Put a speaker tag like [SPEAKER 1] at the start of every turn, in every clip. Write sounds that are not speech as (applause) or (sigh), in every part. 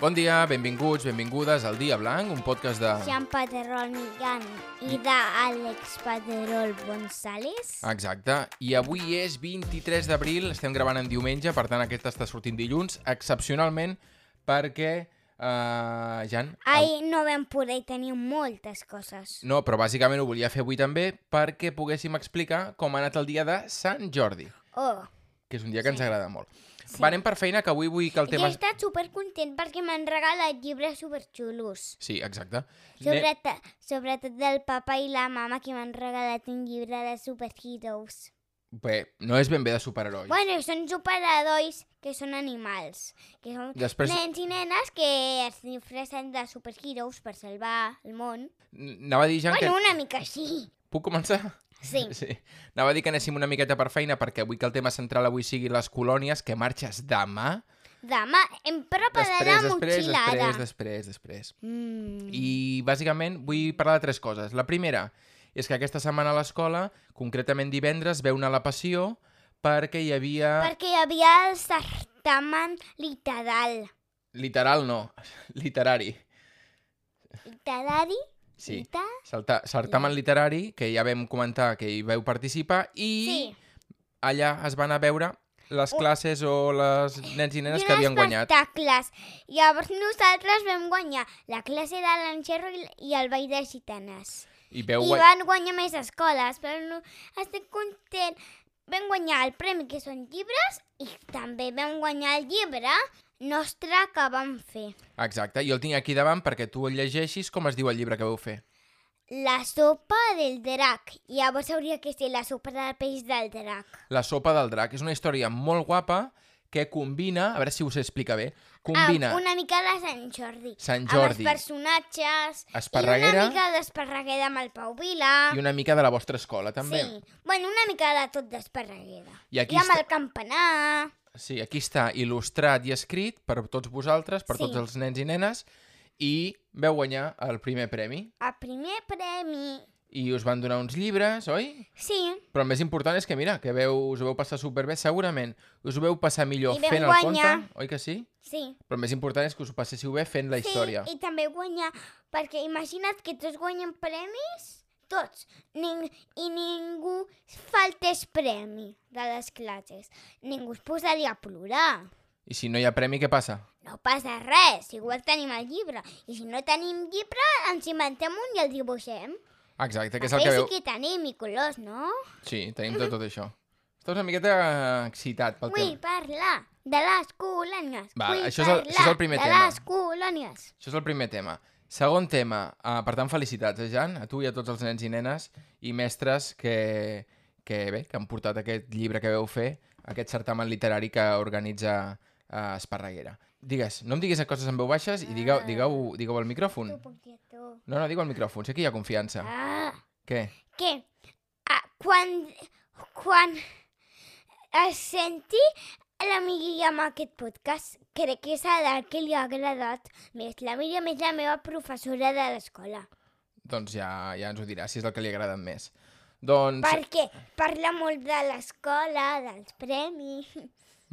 [SPEAKER 1] Bon dia, benvinguts, benvingudes al Dia Blanc, un podcast de...
[SPEAKER 2] Jean Paterol Migan i d'Àlex Paterol González.
[SPEAKER 1] Exacte, i avui és 23 d'abril, estem gravant en diumenge, per tant aquesta està sortint dilluns, excepcionalment perquè, eh, Jan... el-
[SPEAKER 2] Ahir no vam poder tenir moltes coses.
[SPEAKER 1] No, però bàsicament ho volia fer avui també perquè poguéssim explicar com ha anat el dia de Sant Jordi,
[SPEAKER 2] Oh,
[SPEAKER 1] que és un dia que ens agrada molt. Sí. Va, anem per feina, que avui vull que el
[SPEAKER 2] jo he
[SPEAKER 1] tema...
[SPEAKER 2] estat supercontent perquè m'han regalat llibres superxulos.
[SPEAKER 1] Sí, exacte. Ne-
[SPEAKER 2] Sobretot, sobretot del papa i la mama que m'han regalat un llibre de superheroes.
[SPEAKER 1] Bé, no és ben bé de superheroi.
[SPEAKER 2] Bueno, són superherois que són animals. Que són
[SPEAKER 1] Després-
[SPEAKER 2] nens i nenes que es disfressen de superheroes per salvar el món.
[SPEAKER 1] N- Anava a dir, Jan,
[SPEAKER 2] Bueno,
[SPEAKER 1] que...
[SPEAKER 2] una mica així.
[SPEAKER 1] Puc començar?
[SPEAKER 2] Sí.
[SPEAKER 1] (laughs) Sí. Anava a dir que anéssim una miqueta per feina perquè vull que el tema central avui sigui les colònies, que marxes demà.
[SPEAKER 2] Demà, em propa de la
[SPEAKER 1] Després, després,
[SPEAKER 2] motxilada.
[SPEAKER 1] després, després, després.
[SPEAKER 2] Mm.
[SPEAKER 1] I bàsicament vull parlar de tres coses. La primera és que aquesta setmana a l'escola, concretament divendres, veu una la passió perquè hi havia...
[SPEAKER 2] Perquè hi havia el certamen literal.
[SPEAKER 1] Literal no, (laughs) literari.
[SPEAKER 2] Literari?
[SPEAKER 1] Sí,
[SPEAKER 2] Lita?
[SPEAKER 1] Salta...
[SPEAKER 2] Mm.
[SPEAKER 1] certamen literari, que ja vam comentar que hi veu participar, i
[SPEAKER 2] Sí.
[SPEAKER 1] allà es van a veure les
[SPEAKER 2] Un-
[SPEAKER 1] classes o les nens i
[SPEAKER 2] I
[SPEAKER 1] nenes que havien guanyat.
[SPEAKER 2] espectacles. Llavors nosaltres vam guanyar la classe de l'enxerro i l- i el ball de gitanes.
[SPEAKER 1] I veu
[SPEAKER 2] I
[SPEAKER 1] guany-
[SPEAKER 2] van guanyar més escoles, però no... estic content. Vam guanyar el premi, que són llibres, i també vam guanyar el llibre nostre que vam fer.
[SPEAKER 1] Exacte, jo el tinc aquí davant perquè tu el llegeixis com es diu el llibre que veu fer.
[SPEAKER 2] La sopa del drac. Llavors hauria que ser la sopa del peix del drac.
[SPEAKER 1] La sopa del drac. És una història molt guapa que combina, a veure si us explica bé, combina
[SPEAKER 2] Amb una mica de Sant Jordi.
[SPEAKER 1] Sant
[SPEAKER 2] Amb
[SPEAKER 1] Jordi.
[SPEAKER 2] els personatges. I
[SPEAKER 1] Esparreguera.
[SPEAKER 2] una mica d'Esparreguera amb el Pau Vila.
[SPEAKER 1] i una mica de la vostra escola, també.
[SPEAKER 2] Sí. Bueno, una mica de tot d'Esparreguera.
[SPEAKER 1] I aquí
[SPEAKER 2] I amb
[SPEAKER 1] està-
[SPEAKER 2] el campanar.
[SPEAKER 1] Sí, aquí està il·lustrat i escrit per tots vosaltres, per
[SPEAKER 2] Sí.
[SPEAKER 1] tots els nens i nenes, i veu guanyar el primer premi.
[SPEAKER 2] El primer premi.
[SPEAKER 1] I us van donar uns llibres, oi?
[SPEAKER 2] Sí.
[SPEAKER 1] Però el més important és que, mira, que veu, us ho veu passar superbé, segurament. Us ho veu passar millor
[SPEAKER 2] I veu
[SPEAKER 1] fent el
[SPEAKER 2] guanyar.
[SPEAKER 1] conte, oi que sí?
[SPEAKER 2] Sí.
[SPEAKER 1] Però el més important és que us ho passéssiu bé fent la història.
[SPEAKER 2] Sí, i també guanyar, perquè imagina't que tots guanyen premis, tots, ning i ningú faltés premi de les classes. Ningú es posaria a plorar.
[SPEAKER 1] I si no hi ha premi, què passa?
[SPEAKER 2] No passa res, igual tenim el llibre. I si no tenim llibre, ens inventem un i el dibuixem.
[SPEAKER 1] Exacte, que és el
[SPEAKER 2] Ells
[SPEAKER 1] que
[SPEAKER 2] sí
[SPEAKER 1] veu.
[SPEAKER 2] que tenim, i colors, no?
[SPEAKER 1] Sí, tenim de tot això. Estàs una miqueta excitat pel
[SPEAKER 2] Vull
[SPEAKER 1] temps.
[SPEAKER 2] parlar de les colònies.
[SPEAKER 1] Va,
[SPEAKER 2] Vull
[SPEAKER 1] això és el- això és el
[SPEAKER 2] parlar
[SPEAKER 1] primer
[SPEAKER 2] de
[SPEAKER 1] tema.
[SPEAKER 2] les colònies.
[SPEAKER 1] Això és el primer tema. Segon tema, uh, per tant, felicitats, eh, Jan, a tu i a tots els nens i nenes i mestres que, que, bé, que han portat aquest llibre que veu fer, aquest certamen literari que organitza uh, Esparreguera. Digues, no em diguis a coses en veu baixes i digueu, digueu, digueu al micròfon.
[SPEAKER 2] Ah. Tu, puc dir tu.
[SPEAKER 1] No, no, digueu al micròfon, sé que hi ha confiança.
[SPEAKER 2] Ah.
[SPEAKER 1] Què?
[SPEAKER 2] que ah, quan, quan es senti la Míriam aquest podcast, crec que és a la que li ha agradat més. La Míriam és la meva professora de l'escola,
[SPEAKER 1] Doncs ja, ja ens ho dirà, si és el que li agrada més. Doncs...
[SPEAKER 2] perquè parla molt de l'escola, dels premis...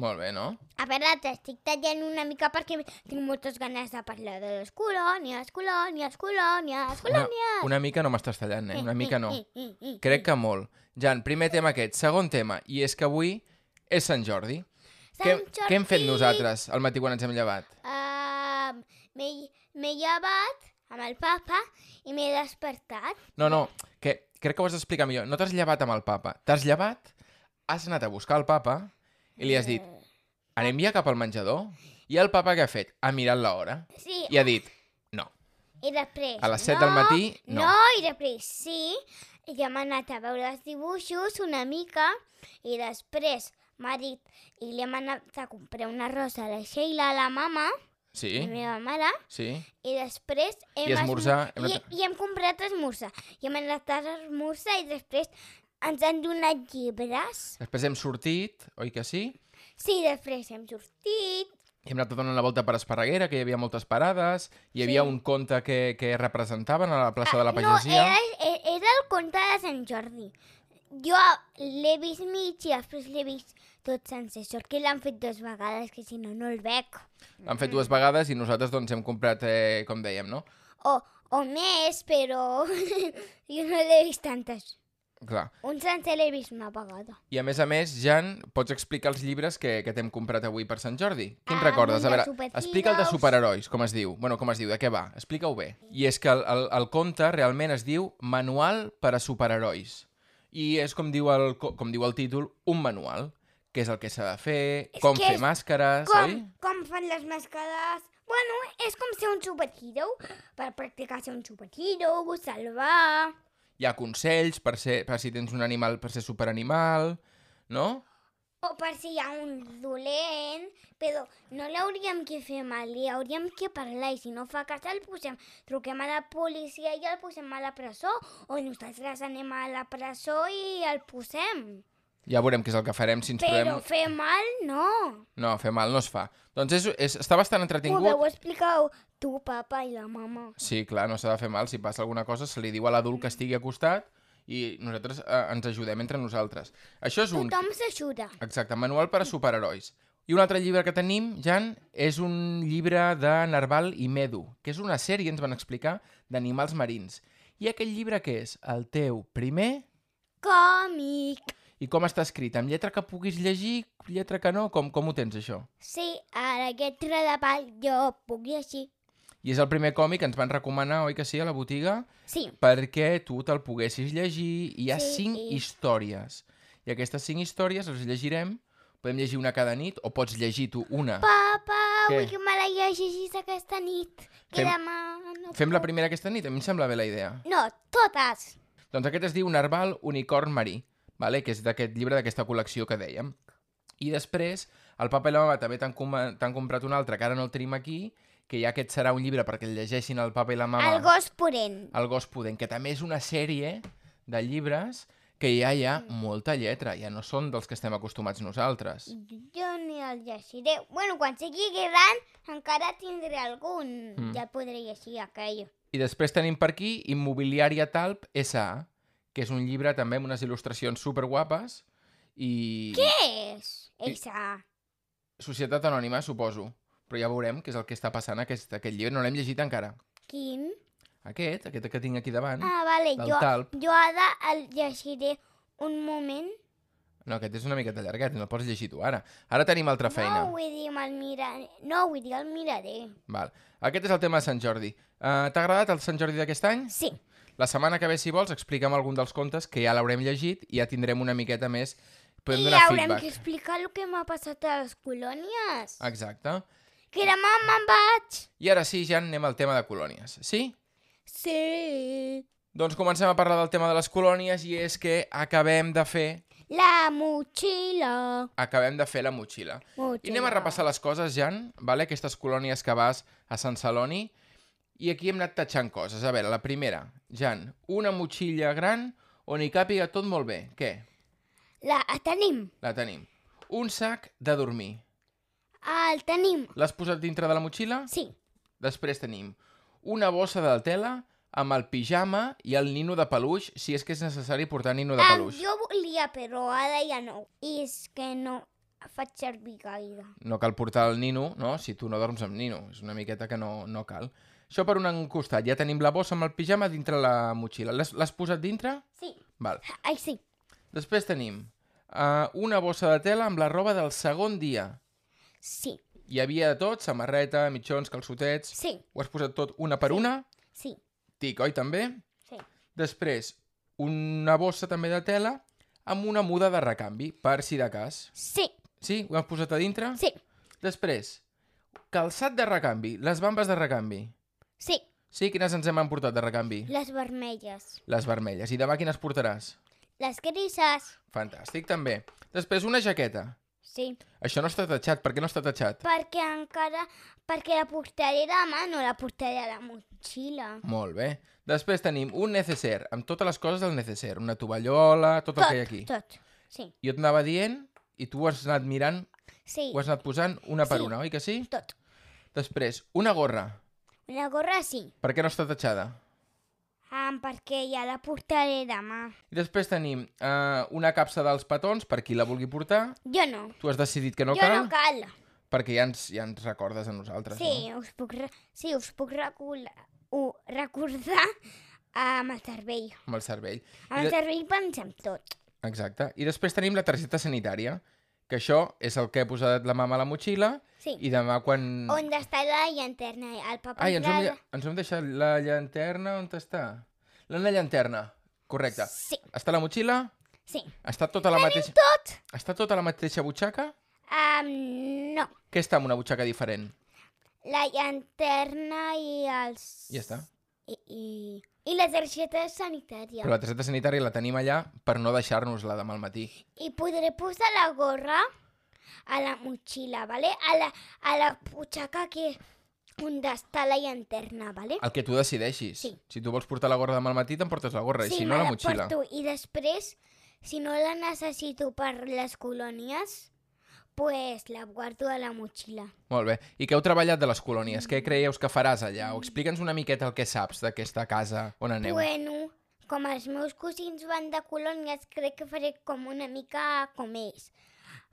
[SPEAKER 1] Molt bé, no?
[SPEAKER 2] A veure, t'estic tallant una mica perquè tinc moltes ganes de parlar de les colònies, colònies, colònies,
[SPEAKER 1] Una,
[SPEAKER 2] colònies...
[SPEAKER 1] una mica no m'estàs tallant, eh? Una mica no.
[SPEAKER 2] Mm, mm, mm, mm.
[SPEAKER 1] Crec que molt. Jan, primer tema aquest. Segon tema, i és que avui és Sant Jordi. Què,
[SPEAKER 2] Sant Jordi!
[SPEAKER 1] què hem fet nosaltres al matí quan ens hem llevat?
[SPEAKER 2] Um, m'he m'he llevat amb el papa i m'he despertat.
[SPEAKER 1] No, no, que crec que ho has d'explicar millor. No t'has llevat amb el papa. T'has llevat, has anat a buscar el papa i li has dit anem ja cap al menjador? I el papa què ha fet? Ha mirat l'hora
[SPEAKER 2] Sí,
[SPEAKER 1] i ha dit no.
[SPEAKER 2] i després...
[SPEAKER 1] A les set del matí, no.
[SPEAKER 2] No, i després sí. I ja m'he anat a veure els dibuixos una mica i després m'ha dit... I li hem anat a comprar una rosa a la Sheila, a la mama,
[SPEAKER 1] Sí,
[SPEAKER 2] la meva mare,
[SPEAKER 1] sí.
[SPEAKER 2] i després... Hem
[SPEAKER 1] I esmorzar, hem
[SPEAKER 2] Hem
[SPEAKER 1] anat-
[SPEAKER 2] esmo- I, I hem comprat esmorzar. I hem anat a esmorzar i després ens han donat llibres.
[SPEAKER 1] Després hem sortit, oi que sí?
[SPEAKER 2] Sí, després hem sortit
[SPEAKER 1] Hem anat donant la volta per Esparreguera, que hi havia moltes parades, hi havia un conte que, que representaven a la plaça de la
[SPEAKER 2] Ah, No, e,
[SPEAKER 1] Pagesia.
[SPEAKER 2] era, era el conte de Sant Jordi. jo l'he vist mig i després l'he vist tot sencer. Sort que l'han fet dues vegades, que si no, no el veig.
[SPEAKER 1] L'han
[SPEAKER 2] Mm.
[SPEAKER 1] fet dues vegades i nosaltres doncs hem comprat, eh, com dèiem, no?
[SPEAKER 2] O, o més, (laughs) però jo no l'he vist tantes.
[SPEAKER 1] Clar.
[SPEAKER 2] Un sencer l'he vist una vegada.
[SPEAKER 1] I a més a més, Jan, pots explicar els llibres que, que t'hem comprat avui per Sant Jordi? Quin
[SPEAKER 2] Ah,
[SPEAKER 1] recordes? A
[SPEAKER 2] vull de
[SPEAKER 1] veure, explica el de
[SPEAKER 2] superherois.
[SPEAKER 1] superherois, com es diu. Bueno, com es diu, de què va? Explica-ho bé. I és que el, el, el conte realment es diu Manual per a superherois. I és com diu el, co- com diu el títol, un manual. Què és el que s'ha de fer,
[SPEAKER 2] És
[SPEAKER 1] com
[SPEAKER 2] que
[SPEAKER 1] fer
[SPEAKER 2] és-
[SPEAKER 1] màscares,
[SPEAKER 2] Com,
[SPEAKER 1] oi?
[SPEAKER 2] com fan les mascades? Bueno, és com ser un superhero, per practicar ser un superhero, salvar...
[SPEAKER 1] Hi ha consells per, ser, per si tens un animal, per ser superanimal, no?
[SPEAKER 2] O per si hi ha un dolent, però no l'hauríem que fer mal, li hauríem que parlar i si no fa cas el posem, truquem a la policia i el posem a la presó o nosaltres anem a la presó i el posem.
[SPEAKER 1] Ja veurem què és el que farem si ens
[SPEAKER 2] Però
[SPEAKER 1] trobem...
[SPEAKER 2] fer mal, no.
[SPEAKER 1] No, fer mal no es fa. Doncs és, és, està bastant
[SPEAKER 2] Ho
[SPEAKER 1] entretingut.
[SPEAKER 2] veu explicar tu, papa i la mama.
[SPEAKER 1] Sí, clar, no s'ha de fer mal. Si passa alguna cosa, se li diu a l'adult que estigui a costat i nosaltres eh, ens ajudem entre nosaltres. Això és un...
[SPEAKER 2] Tothom s'ajuda.
[SPEAKER 1] Exacte, manual per a superherois. I un altre llibre que tenim, Jan, és un llibre de Narval i Medu, que és una sèrie, ens van explicar, d'animals marins. I aquest llibre què és? El teu primer
[SPEAKER 2] Còmic.
[SPEAKER 1] i com està escrit? Amb lletra que puguis llegir, lletra que no? Com, com ho tens, això?
[SPEAKER 2] Sí, a la lletra de pal jo puc llegir.
[SPEAKER 1] I és el primer còmic que ens van recomanar, oi que sí, a la botiga?
[SPEAKER 2] Sí,
[SPEAKER 1] perquè tu te'l poguessis llegir. Hi ha
[SPEAKER 2] Sí,
[SPEAKER 1] sí, cinc
[SPEAKER 2] i-
[SPEAKER 1] històries. I aquestes cinc històries les llegirem. Podem llegir una cada nit o pots llegir tu una.
[SPEAKER 2] papa,
[SPEAKER 1] Què?
[SPEAKER 2] vull que me la llegeixis aquesta nit. Que
[SPEAKER 1] Fem-
[SPEAKER 2] demà no
[SPEAKER 1] Fem la primera aquesta nit? A mi em sembla bé la idea.
[SPEAKER 2] No, totes.
[SPEAKER 1] Doncs aquest es diu Narval Unicorn Marí, vale? que és d'aquest llibre, d'aquesta col·lecció que dèiem. I després, el papa i la mama també t'han coma- t'han comprat un altre, que ara no el tenim aquí, que ja aquest serà un llibre perquè el llegeixin el papa i la mama.
[SPEAKER 2] El gos purent.
[SPEAKER 1] El gos pudent, que també és una sèrie de llibres que ja hi ha
[SPEAKER 2] Mm.
[SPEAKER 1] molta lletra, ja no són dels que estem acostumats nosaltres.
[SPEAKER 2] Jo ni el llegiré. Bueno, quan sigui gran encara tindré algun.
[SPEAKER 1] Mm.
[SPEAKER 2] Ja podré llegir aquell.
[SPEAKER 1] I després tenim per aquí Immobiliària Talp S.A., que és un llibre també amb unes il·lustracions superguapes i... Què?
[SPEAKER 2] Què és? Esa.
[SPEAKER 1] Societat Anònima, suposo. Però ja veurem què és el que està passant aquest, aquest llibre. No l'hem llegit encara.
[SPEAKER 2] Quin?
[SPEAKER 1] Aquest, aquest que tinc aquí davant,
[SPEAKER 2] Ah, vale.
[SPEAKER 1] Mm. del
[SPEAKER 2] Jo,
[SPEAKER 1] Talp...
[SPEAKER 2] jo ara el llegiré un moment.
[SPEAKER 1] No, aquest és una miqueta llarguet, no el pots llegir tu ara. Ara tenim altra feina.
[SPEAKER 2] No eh. vull dir me'l miraré. No vull dir el miraré.
[SPEAKER 1] Val. Aquest és el tema de Sant Jordi. Uh, T'ha agradat el Sant Jordi d'aquest any?
[SPEAKER 2] Sí.
[SPEAKER 1] La setmana que ve, si vols, explica'm algun dels contes que ja l'haurem llegit i ja tindrem una miqueta més... Podem
[SPEAKER 2] I
[SPEAKER 1] donar
[SPEAKER 2] haurem
[SPEAKER 1] feedback.
[SPEAKER 2] que explicar el que m'ha passat a les colònies.
[SPEAKER 1] Exacte.
[SPEAKER 2] Que demà me'n vaig.
[SPEAKER 1] I ara sí, ja anem al tema de colònies. Sí?
[SPEAKER 2] Sí.
[SPEAKER 1] Doncs comencem a parlar del tema de les colònies i és que acabem de fer
[SPEAKER 2] La motxilla.
[SPEAKER 1] acabem de fer la motxilla.
[SPEAKER 2] motxilla.
[SPEAKER 1] I anem a repassar les coses, Jan, vale? aquestes colònies que vas a Sant Celoni. I aquí hem anat tatxant coses. A veure, la primera, Jan, una motxilla gran on hi càpiga tot molt bé. Què?
[SPEAKER 2] La el tenim.
[SPEAKER 1] La tenim. Un sac de dormir.
[SPEAKER 2] El tenim.
[SPEAKER 1] L'has posat dintre de la motxilla?
[SPEAKER 2] Sí.
[SPEAKER 1] Després tenim una bossa de tela amb el pijama i el nino de peluix, si és que és necessari portar nino de
[SPEAKER 2] Ah,
[SPEAKER 1] peluix.
[SPEAKER 2] jo volia, però ara ja no. I és que no faig servir gaire.
[SPEAKER 1] No cal portar el nino, no? Si tu no dorms amb nino. És una miqueta que no, no cal. Això per un costat. Ja tenim la bossa amb el pijama dintre la motxilla. L'has l'has posat dintre?
[SPEAKER 2] Sí.
[SPEAKER 1] Val.
[SPEAKER 2] Ai, sí.
[SPEAKER 1] Després tenim uh, una bossa de tela amb la roba del segon dia.
[SPEAKER 2] Sí.
[SPEAKER 1] Hi havia de tot, samarreta, mitjons, calçotets...
[SPEAKER 2] Sí.
[SPEAKER 1] Ho has posat tot una per
[SPEAKER 2] Sí.
[SPEAKER 1] una?
[SPEAKER 2] Sí.
[SPEAKER 1] Tic, oi, també?
[SPEAKER 2] Sí.
[SPEAKER 1] Després, una bossa també de tela amb una muda de recanvi, per si de cas.
[SPEAKER 2] Sí.
[SPEAKER 1] Sí? Ho has posat a dintre?
[SPEAKER 2] Sí.
[SPEAKER 1] Després, calçat de recanvi, les bambes de recanvi.
[SPEAKER 2] Sí.
[SPEAKER 1] Sí? Quines ens hem emportat de recanvi?
[SPEAKER 2] Les vermelles.
[SPEAKER 1] Les vermelles. I demà quines portaràs?
[SPEAKER 2] Les grises.
[SPEAKER 1] Fantàstic, també. Després, una jaqueta.
[SPEAKER 2] Sí.
[SPEAKER 1] Això no està tatxat. Per què no està tatxat?
[SPEAKER 2] Perquè encara... Perquè la portaré demà, no la portaré a la motxilla.
[SPEAKER 1] Molt bé. Després tenim un necesser, amb totes les coses del necesser. Una tovallola, tot el que hi ha aquí.
[SPEAKER 2] tot. Sí.
[SPEAKER 1] Jo t'anava dient i tu ho has anat mirant,
[SPEAKER 2] Sí.
[SPEAKER 1] ho has anat posant una per
[SPEAKER 2] Sí.
[SPEAKER 1] una, oi que sí?
[SPEAKER 2] Tot.
[SPEAKER 1] Després, una gorra.
[SPEAKER 2] Una gorra sí.
[SPEAKER 1] Per què no està tatxada?
[SPEAKER 2] um, perquè ja la portaré demà.
[SPEAKER 1] I després tenim eh, una capsa dels petons, per qui la vulgui portar.
[SPEAKER 2] Jo no.
[SPEAKER 1] Tu has decidit que no
[SPEAKER 2] jo
[SPEAKER 1] cal,
[SPEAKER 2] no cal.
[SPEAKER 1] perquè ja ens, ja ens recordes a nosaltres, no?
[SPEAKER 2] Sí, us puc, re- sí, us puc recula, ho, recordar amb el cervell.
[SPEAKER 1] Amb el cervell. I
[SPEAKER 2] Amb el
[SPEAKER 1] de-
[SPEAKER 2] cervell pensem tot.
[SPEAKER 1] Exacte. I després tenim la targeta sanitària, que això és el que ha posat la mama a la motxilla
[SPEAKER 2] Sí.
[SPEAKER 1] i demà quan...
[SPEAKER 2] On està la llanterna? El paper
[SPEAKER 1] Ai, ens
[SPEAKER 2] de
[SPEAKER 1] hem,
[SPEAKER 2] la...
[SPEAKER 1] lle- ens hem deixat la llanterna, on està? La la llanterna, correcte.
[SPEAKER 2] Sí,
[SPEAKER 1] Està a la motxilla?
[SPEAKER 2] sí.
[SPEAKER 1] Està tota la mateixa...
[SPEAKER 2] Tot?
[SPEAKER 1] Està tota la mateixa butxaca?
[SPEAKER 2] Um, no.
[SPEAKER 1] Què està en una butxaca diferent?
[SPEAKER 2] La llanterna i els...
[SPEAKER 1] Ja està.
[SPEAKER 2] I, i, i la targeta sanitària.
[SPEAKER 1] Però la targeta sanitària la tenim allà per no deixar-nos-la demà al matí.
[SPEAKER 2] I podré posar la gorra a la motxilla, vale? A la, a la butxaca que on està la llanterna, vale?
[SPEAKER 1] El que tu decideixis.
[SPEAKER 2] Sí.
[SPEAKER 1] Si tu vols portar la gorra demà al matí, t'emportes la gorra, i si no,
[SPEAKER 2] me
[SPEAKER 1] la motxilla.
[SPEAKER 2] porto. I després, si no la necessito per les colònies, pues la guardo a la motxilla.
[SPEAKER 1] Molt bé. I què heu treballat de les colònies?
[SPEAKER 2] Mm.
[SPEAKER 1] Què creieu que faràs allà? O explica'ns una miqueta el que saps d'aquesta casa on aneu.
[SPEAKER 2] Bueno, com els meus cosins van de colònies, crec que faré com una mica com ells.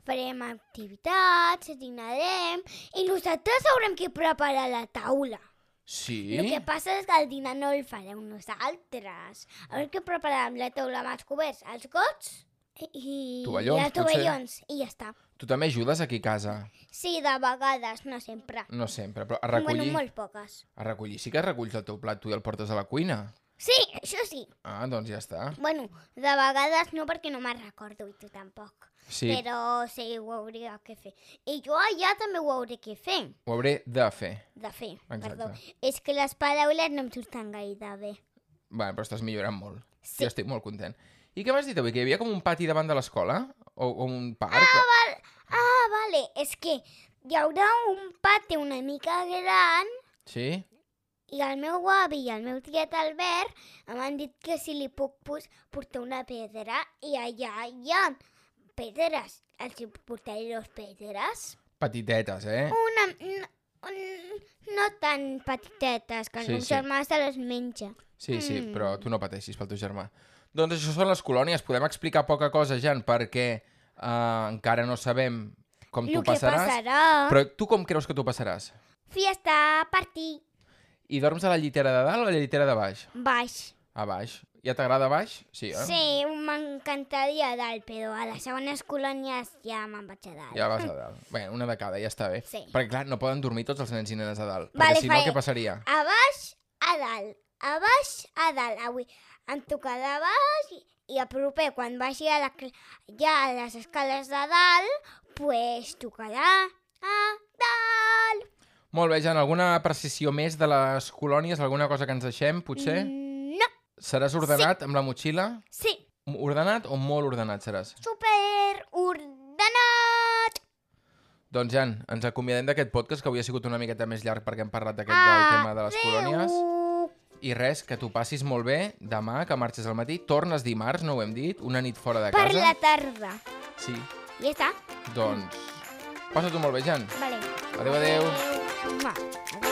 [SPEAKER 2] Farem activitats, dinarem i nosaltres haurem que preparar la taula.
[SPEAKER 1] Sí?
[SPEAKER 2] El que passa és que el dinar no el fareu nosaltres. Haurem que preparar amb la taula amb els coberts, els gots i,
[SPEAKER 1] Tovallons,
[SPEAKER 2] i els
[SPEAKER 1] potser.
[SPEAKER 2] tovallons. I ja està.
[SPEAKER 1] Tu també ajudes aquí a casa?
[SPEAKER 2] Sí, de vegades, no sempre.
[SPEAKER 1] No sempre, però a recollir...
[SPEAKER 2] Bueno, molt poques.
[SPEAKER 1] A recollir sí que reculls el teu plat, tu i el portes a la cuina.
[SPEAKER 2] Sí, això sí.
[SPEAKER 1] Ah, doncs ja està.
[SPEAKER 2] Bueno, de vegades no perquè no me'n recordo i tu tampoc.
[SPEAKER 1] Sí,
[SPEAKER 2] Però sí, ho hauria que fer. I jo allà també ho hauré que fer,
[SPEAKER 1] ho hauré de fer.
[SPEAKER 2] de fer.
[SPEAKER 1] Exacte.
[SPEAKER 2] Perdó. És que les paraules no em surten gaire bé.
[SPEAKER 1] Bé, però estàs millorant molt.
[SPEAKER 2] Sí.
[SPEAKER 1] Jo estic molt content. I què m'has dit avui? Que hi havia com un pati davant de l'escola? O, o un parc? Ah,
[SPEAKER 2] Ah, vale, és que hi haurà un pati una mica gran
[SPEAKER 1] sí?
[SPEAKER 2] i el meu avi i el meu tiet Albert m'han dit que si li puc pos- portar una pedra i allà hi ha pedres. Els hi portaré dos pedres.
[SPEAKER 1] Petitetes, eh?
[SPEAKER 2] Una... n- n- No tan petitetes, que el
[SPEAKER 1] Sí,
[SPEAKER 2] meu
[SPEAKER 1] sí.
[SPEAKER 2] germà se les menja.
[SPEAKER 1] Sí, sí,
[SPEAKER 2] Mm.
[SPEAKER 1] però tu no pateixis pel teu germà. Doncs això són les colònies. Podem explicar poca cosa, Jan, perquè eh, encara no sabem com
[SPEAKER 2] El
[SPEAKER 1] tu
[SPEAKER 2] que
[SPEAKER 1] passaràs.
[SPEAKER 2] passarà... Però...
[SPEAKER 1] Però tu com creus que tu passaràs?
[SPEAKER 2] Fiesta, partir,
[SPEAKER 1] I dorms a la llitera de dalt o a la llitera de baix?
[SPEAKER 2] baix.
[SPEAKER 1] A baix. Ja t'agrada baix? Sí, eh?
[SPEAKER 2] Sí, m'encantaria a dalt, però a les segones colònies ja me'n vaig a dalt.
[SPEAKER 1] Ja vas a dalt. Bé, una de cada, ja està bé.
[SPEAKER 2] Sí.
[SPEAKER 1] Perquè, clar, no poden dormir tots els nens i nenes a dalt. Perquè
[SPEAKER 2] Vale,
[SPEAKER 1] si no,
[SPEAKER 2] faré-
[SPEAKER 1] què passaria?
[SPEAKER 2] A baix, a dalt. A baix, a dalt. Avui em toca de baix i, i a proper, quan vagi a la, cl- ja a les escales de dalt, pues tocarà a dalt.
[SPEAKER 1] Molt bé, Jan, alguna precisió més de les colònies? Alguna cosa que ens deixem, potser?
[SPEAKER 2] Mm, No,
[SPEAKER 1] Seràs ordenat amb la motxilla?
[SPEAKER 2] sí,
[SPEAKER 1] Ordenat o molt ordenat seràs?
[SPEAKER 2] super ordenat.
[SPEAKER 1] Doncs, Jan, ens acomiadem d'aquest podcast, que avui ha sigut una miqueta més llarg perquè hem parlat d'aquest del tema de les colònies.
[SPEAKER 2] Adéu.
[SPEAKER 1] I res, que t'ho passis molt bé demà, que marxes al matí. Tornes dimarts, no ho hem dit, una nit fora de
[SPEAKER 2] Per
[SPEAKER 1] casa.
[SPEAKER 2] la tarda.
[SPEAKER 1] Sí,
[SPEAKER 2] Ja està?
[SPEAKER 1] doncs... Passa-t'ho molt bé, Jan.
[SPEAKER 2] Vale.
[SPEAKER 1] Adéu, adéu.
[SPEAKER 2] Mua. Adéu.